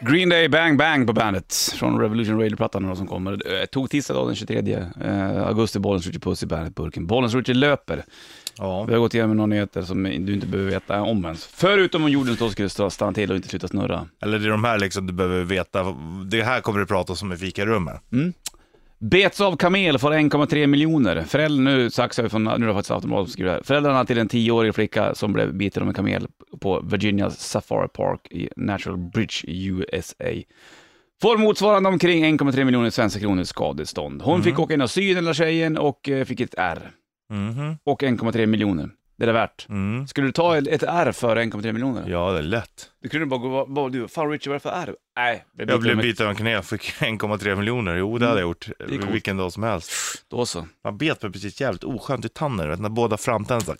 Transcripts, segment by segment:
Green Day Bang Bang på bandet från Revolution Radio-plattan nu då som kommer. Eh, Tog tisdag då, den 23 eh, augusti, Bollens Ritchie Puss i bandet-burken. Bollens Ritchie löper. Ja. Vi har gått igenom några nyheter som du inte behöver veta om ens. Förutom om jorden då skulle stå- stanna till och inte sluta snurra. Eller det är de här liksom du behöver veta. Det här kommer det pratas om i fikarummet. Bets av kamel får 1,3 miljoner. Föräldrar, nu saxar vi från, nu är det faktiskt Aftonbladet som skriver det här. Föräldrarna till en 10-årig flicka som blev biten av en kamel på Virginias Safari Park i Natural Bridge, USA. Får motsvarande omkring 1,3 miljoner svenska kronor i skadestånd. Hon fick åka in och sy den där tjejen och eh, fick ett R. Mhm. Och 1,3 miljoner. Det är det värt. Mm. Skulle du ta ett ett R för 1,3 miljoner? Ja, det är lätt. Du kunde bara gå, bara, du, fan Richard varför R? Nej, det blir Jag blev med- biten av en knä och fick 1,3 miljoner. Jo, det hade jag gjort. är coolt. Vilken dag som helst. Då så. Man bet mig precis jävligt oskönt i tanden. Vet, när båda framtänderna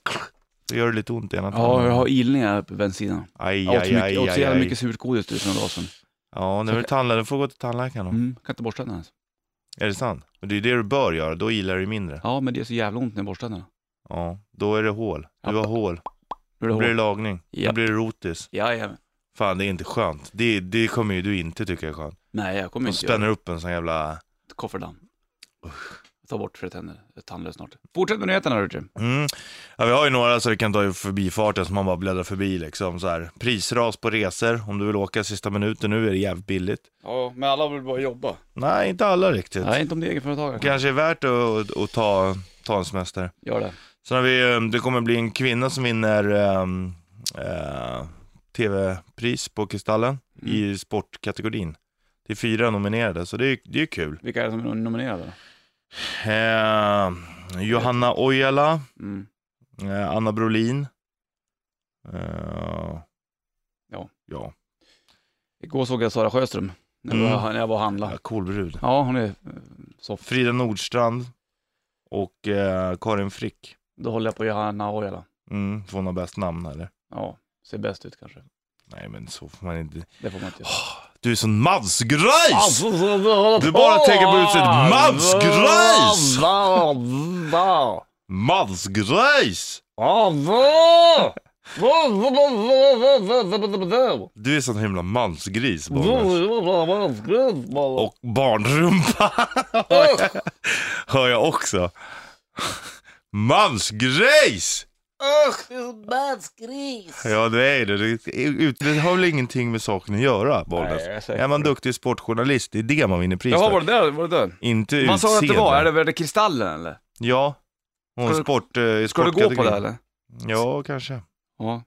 Det gör det lite ont i ena Ja, jag tanden. har ilningar på vänstersidan. Aj, Jag åt, aj, mycket, aj, jag åt så aj, jävla aj. mycket surt godis du för några dagar sedan. Ja, nu är det tandläkaren. Du får gå till tandläkaren då. Mm. Kan inte borsta tänderna ens. Är det sant? Men det är ju det du bör göra. Då gillar du mindre. Ja, men det är så jävla ont när jag borstar tänderna. Ja, då är det hål. Du har hål. Hur Då blir är det det lagning. Ja. Då blir det rotis. Jajamän. Fan, det är inte skönt. Det, det kommer ju du inte tycka är skönt. Nej, jag kommer De inte göra spänner upp en sån jävla... ett kofferdamm. Ta bort för tänder. Jag är tandlös snart. Fortsätt med nyheterna Richard. Mm. Ja, vi har ju några så vi kan ta i förbifarten som man bara bläddrar förbi liksom så här. Prisras på resor. Om du vill åka sista minuten nu är det jävligt billigt. Ja, men alla vill bara jobba. Nej, inte alla riktigt. Nej, inte om du är egenföretagare. Kanske är värt att, att, att ta, ta en semester. Gör det. Sen har vi, eh, det kommer bli en kvinna som vinner ehm, eh, tv-pris på Kristallen Mm. i sportkategorin. Det är fyra nominerade, så det är, det är kul. Vilka är det som är nominerade då? Eh, Johanna Ojala, Mm. eh, Anna Brolin. Eh, Ja. Ja, Igår såg jag Sara Sjöström. När, jag Mm. var, när jag var och ja handlade. cool brud. Ja, hon är eh, soft. Frida Nordstrand och eh, Karin Frick. Då håller jag på Johanna Ojala. Mm, får hon ha bäst namn eller? Ja, ser bäst ut kanske. Nej men så får man inte. Det får man inte göra. Du är sån Ah, mansgrejs! Du Du bara tänker på utseendet. Mansgrejs! Mansgrejs! Du är sån himla mansgris Bollnäs. Och barnrumpa hör jag också. Mansgris! Mansgris! Ja det är det. Det, är ut- det har väl ingenting med saken att göra Bollnäs. Nej, jag är säker Är man på det. duktig sportjournalist, det är det man vinner pris Jaha, var för. det där? Var det där? Inte utseende. Man sa att det var, är det, är det Kristallen eller? Ja. Och Ska du- sport, eh, Ska du gå på det eller? Ja, kanske. Ja.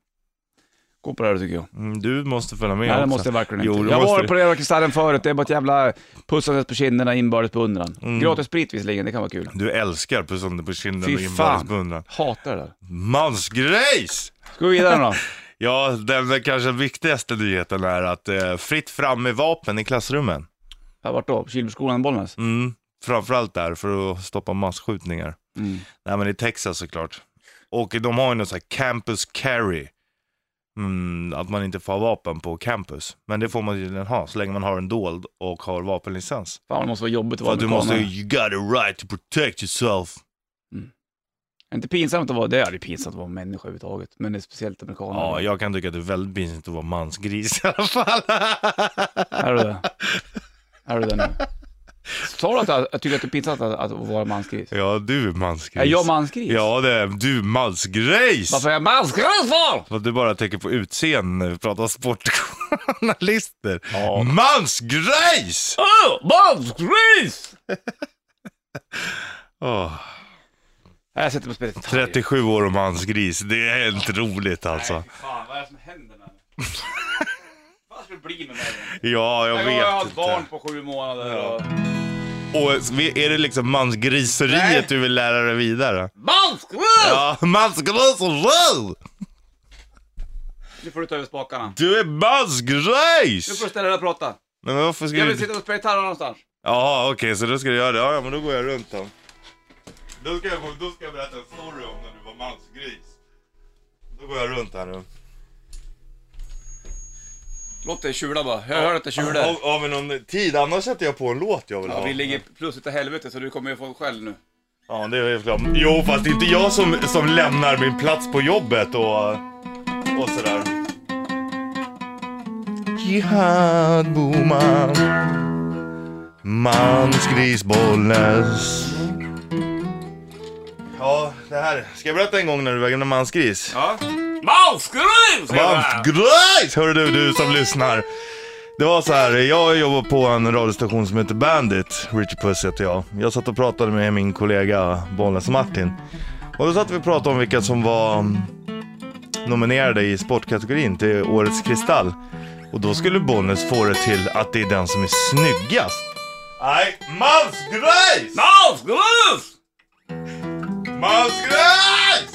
Gå på det här tycker jag. Mm, Du måste följa med Nej, det också. måste jag verkligen Jo, inte. det Jag måste var du. på det jävla Kristallen förut, det är bara ett jävla pussandes på kinderna, inbördes beundran. Mm. Gratis sprit visserligen, det kan vara kul. Du älskar pussande på kinden Fy och fan. inbördes beundran. Hatar det där. Mansgrejs! Ska vi vidare då? Ja, den där kanske viktigaste nyheten är att eh, fritt fram med vapen i klassrummen. Ja, Vart då? Kilbyskolan i Bollnäs? Mm, framförallt där för att stoppa massskjutningar. Mm. Nej men i Texas såklart. Och de har ju något sånt här campus carry. Mm, att man inte får ha vapen på campus. Men det får man tydligen ha så länge man har en dold och har vapenlicens. Fan det måste vara jobbigt att För vara att du amerikan. måste, you got a right to protect yourself. Mm. Är det inte pinsamt att vara det? Ja, det är pinsamt att vara människa överhuvudtaget. Men det är speciellt amerikaner. Ja, jag kan tycka att det är väldigt pinsamt att vara mansgris i alla fall. Är du det? Är du det nu? Sa du att jag, jag tycker att det är pinsamt att, att vara mansgris? ja, du är mansgris. Är jag mansgris? Ja det är du mansgrejs! Varför är jag mansgris för? För att du bara tänker på utseende när vi pratar sportjournalister. Ja. Mansgrejs! Åh, Oh, mansgris! Åh, Nej, Jag sätter mig och spelar gitarr. 37 år och mansgris, det är inte roligt alltså. Nej, fy fan, vad är det som händer med mig? Vad ska det bli med mig? Ja, jag Jag har vet ett barn inte. på sju månader Ja. och... Och är det liksom Nej. mansgriseriet du vill lära dig vidare? Mansgris! Ja, mansgriseri! Nu får du ta över spakarna. Du är Nu får du mansgris! ställa dig och prata. Men varför ska Jag vill du... sitta och spela gitarr någonstans. Jaha, okej, så då ska du göra det. Ja, ja, men då går jag runt då. Då ska jag, då ska jag berätta en story om när du var mansgris. Då går jag runt här nu. Låt det tjula bara. Jag hör att det tjular. Har, har vi någon tid? Annars sätter jag på en låt jag vill ha. Ja, vi ligger plus utav helvete så du kommer ju få skäll nu. Ja, det är ju klart. Jo, fast det är inte jag som, som lämnar min plats på jobbet och, och sådär. Jihad Boman Mansgrisbollnäs Ja, det här. Ska jag berätta en gång när du vägrade mansgris? Ja. Mausgrus! Mansgris! Hör du, du som lyssnar. Det var så här, jag jobbar på en radiostation som heter Bandit, Richie Puss heter jag. Jag satt och pratade med min kollega Bollnäs Martin. Och då satt vi och pratade om vilka som var mm, nominerade i sportkategorin till Årets Kristall. Och då skulle Bollnäs få det till att det är den som är snyggast. Nej, mansgris! Mausgrus! Mansgräs!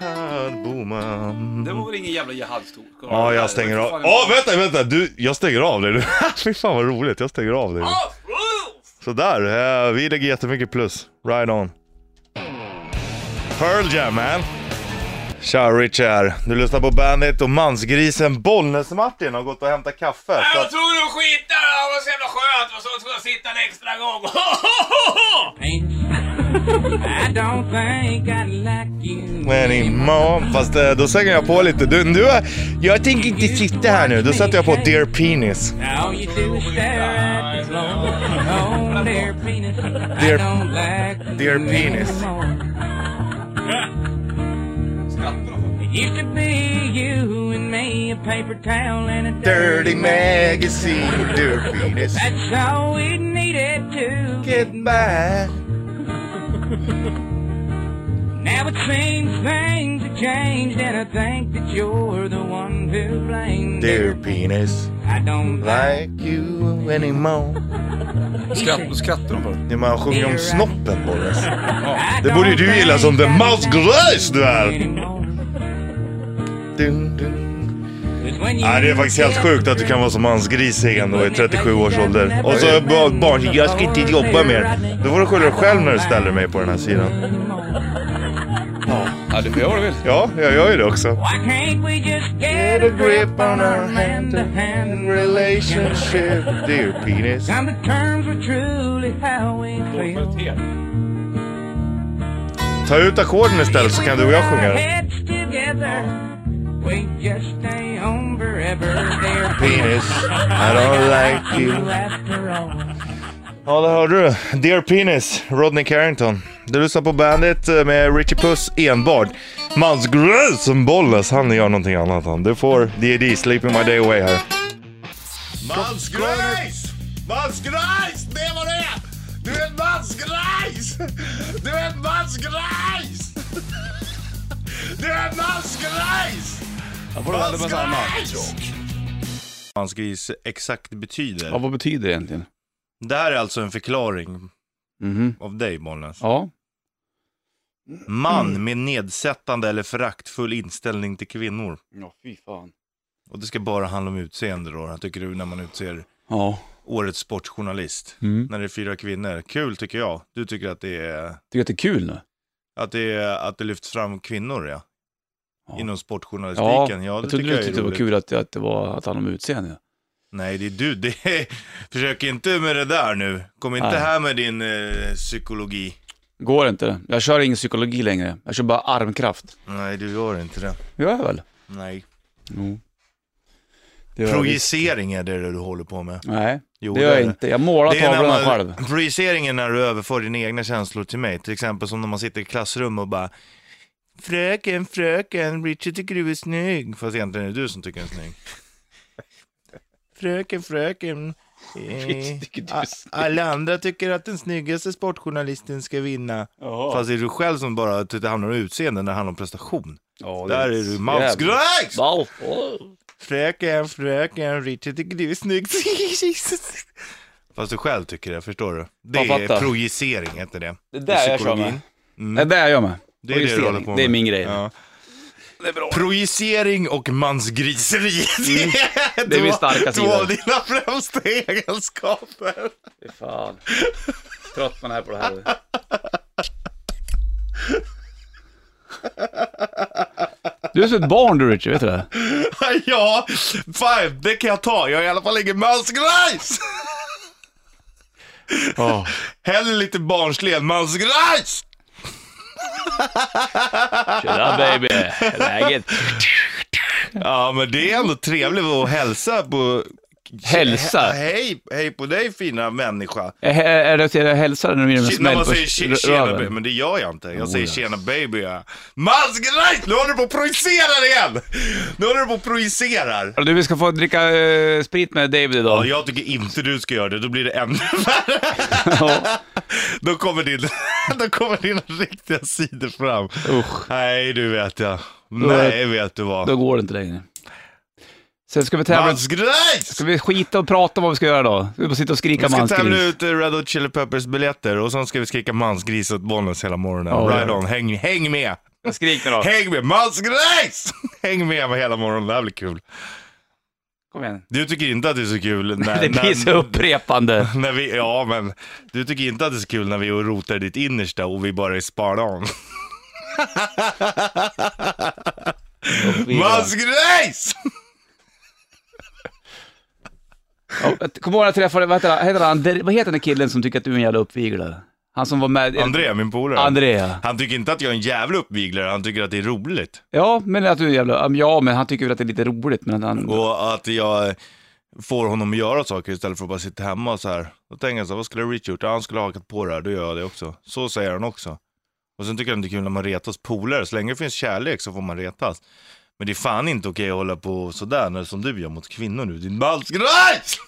Här Boman. Det var väl ingen jävla jihad-stor? Ja, jag stänger av. Åh, vänta, vänta! Du, jag stänger av dig nu. Fy fan vad roligt, jag stänger av dig nu. Mausgrus! Sådär, eh, vi lägger jättemycket plus. Right on. Pearl Jam man. Tja Rich här. Du lyssnar på bandet och mansgrisen Bollnäs-Martin har gått och hämtat kaffe. Jag Så var att, tvungen att skita, det var så jävla skönt och så skulle jag sitta en extra gång. I don't think I like you. anymore. Fast eh, då slänger jag på lite. Du, nu, är- jag tänker inte sitta här nu. Då sätter jag på Dear Penis. All you do is stare at the floor. Oh, dear penis. Dear- I don't like dear you penis. anymore. It used to be you and me, a paper towel and a dirty man. magazine, Dear Penis. That's all we needed to Get back. Now it seems things have changed, and I think that you're the one to blame. Dear Penis. I don't like. Like you anymore. Skratt, skrattar de på det? När man sjunger om snoppen Bollnäs. I Det borde ju don't du gilla som think the I mouse like grös du you är. anymore. Dun, dun. Nej, Nej, det är faktiskt helt sjukt att du kan vara så mansgrisig ändå i 37 års ålder. Och så bara ett barn, jag ska inte jobba mer. Då får du skylla dig själv när du ställer mig på den här sidan. Ja, du får göra vad du vill. Ja, jag gör ju det också. Why can't we just get a grip on our hand-to-hand relationship? dear penis. Come to terms with truly how we feel. Ta ut ackorden istället så kan du och jag sjunga den. Heads together, we just stay home forever. Dear Penis, I don't like you. you after all. Ja, där hörde du. Dear Penis, Rodney Carrington. Du lyssnar på bandet eh, med Richie Puss enbart. Mans Grös som Bollnäs, han gör någonting annat han. Du får D&D Sleeping My Day Away här. Mans Grös! Mans Grös, det var det! Du är en mansgrejs! Du är en mansgrejs! Du är en mansgrejs! Jag får aldrig med samma. Mansgris exakt Ja, betyder. vad betyder det egentligen? Det här är alltså en förklaring Mhm. av dig Bollnäs. Ja. Mm. Man med nedsättande eller föraktfull inställning till kvinnor. Ja, fy fan. Och det ska bara handla om utseende då. Jag tycker du när man utser Ja, årets sportjournalist. Mm. När det är fyra kvinnor. Kul tycker jag. Du tycker att det är, tycker att det är kul nu? att det, är, att det lyfts fram kvinnor ja. Ja. Inom Ja, sportjournalistiken. Ja, det jag tycker trodde jag du är tyckte det var roligt. kul att, att det var att han om utseende. Nej, det är du. Det är... Försök inte med det där nu. Kom inte Nej. här med din eh, psykologi. Går inte. Jag kör ingen psykologi längre. Jag kör bara armkraft. Nej, du gör inte det. Gör jag väl? Nej. Jo. Det gör jag visst. Projicering är det du håller på med. Nej, Jo, det gör jag är inte. Jag målar Det är när tavlorna man, själv. Projicering är när du överför dina egna känslor till mig. Till exempel som när man sitter i klassrum och bara Fröken, fröken, Richie tycker du är snygg. Fast egentligen är det du som tycker den är snygg. Fröken, fröken. eh, Richie tycker du är a- snygg. alla andra tycker att den snyggaste sportjournalisten ska vinna. Fast det är du själv som bara tycker det handlar om utseende när det handlar om prestation. Ja, Där är du mansgröt! Wow. Fröken, fröken, Richie tycker du är snygg. Jesus. Fast du själv tycker det, förstår du? Det Jag är fattar. projicering, heter det. Det är där jag kör med. Det är där jag med. Mm. Det är det du håller på med. Det är min grej. Ja. Projicering och mansgriseri. Mm. Det är min starka Två sida. av dina främsta egenskaper. Fy fan. Trött man är på det här. Du är som ett barn du Richard, vet du det? ja, fan, det kan jag ta. Jag är i alla fall ingen mansgris. Ja. Hellre lite barnslig än mansgris. Tjena baby, läget? Ja, men det är ändå trevligt att hälsa på... Hälsa? He- Hej, hej på dig fina människa. Är, Eh, är det till att hälsa när du ger en Shit, när smäll man på säger tje- tjena baby, röven? Oh, men det gör jag inte. Jag säger ja. tjena baby. Jag... Mats Greit, nu håller du på att projicera igen! Nu håller du på att projicera. Du, vi ska få dricka eh, sprit med David Ja, idag. jag tycker inte du ska göra det, då blir det ännu värre. Ja. Då kommer, din, då kommer dina riktiga sidor fram. Usch. Nej, du vet jag. Nej, vet du vad. Då går det inte längre. Sen ska vi tävla... Mats Greit! Ska vi skita och prata om vad vi ska göra då? Ska vi bara sitta och skrika Vi ska tävla mansgris? ut eh, Red Hot Chili Peppers biljetter och sen ska vi skrika mansgris åt Bollnäs hela morgonen. Ja, right ja. on, häng, häng med! Skrik nu då. Häng med, mansgris! häng med mig hela morgonen, det här blir kul. Kom igen. Du tycker inte att det är så kul när... Det blir så upprepande. när vi, ja men, du tycker inte att det är så kul när vi rotar i ditt innersta och vi bara är sparran. Mansgris! Ja, Kommer ihåg när jag träffade, vad heter han, heter han André- vad heter den där killen som tycker att du är en jävla uppviglare? Han som var med... André, min polare. Andrea. Han tycker inte att jag är en jävla uppviglare, han tycker att det är roligt. Ja, men att du är en jävla... Ja, men han tycker väl att det är lite roligt, men att han... Och att jag får honom att göra saker istället för att bara sitta hemma och så här. Då tänker jag så här, vad skulle Rich gjort? Ja, han skulle ha hakat på det här, då gör jag det också. Så säger han också. Och sen tycker han det är kul när man retas polare, så länge det finns kärlek så får man retas. Men det är fan inte okej att hålla på sådär när, som du gör mot kvinnor nu, din balsgris!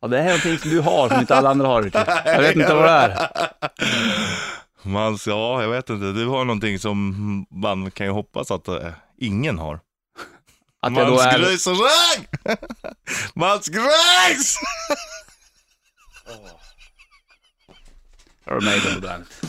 Ja, det här är någonting som du har som inte alla andra har Richard. Jag vet inte vad det är. Man, ja, jag vet inte, du har någonting som man kan ju hoppas att eh, ingen har. Att jag då är... Mansgris och ragg! Mansgris! Iron Maiden på bandet.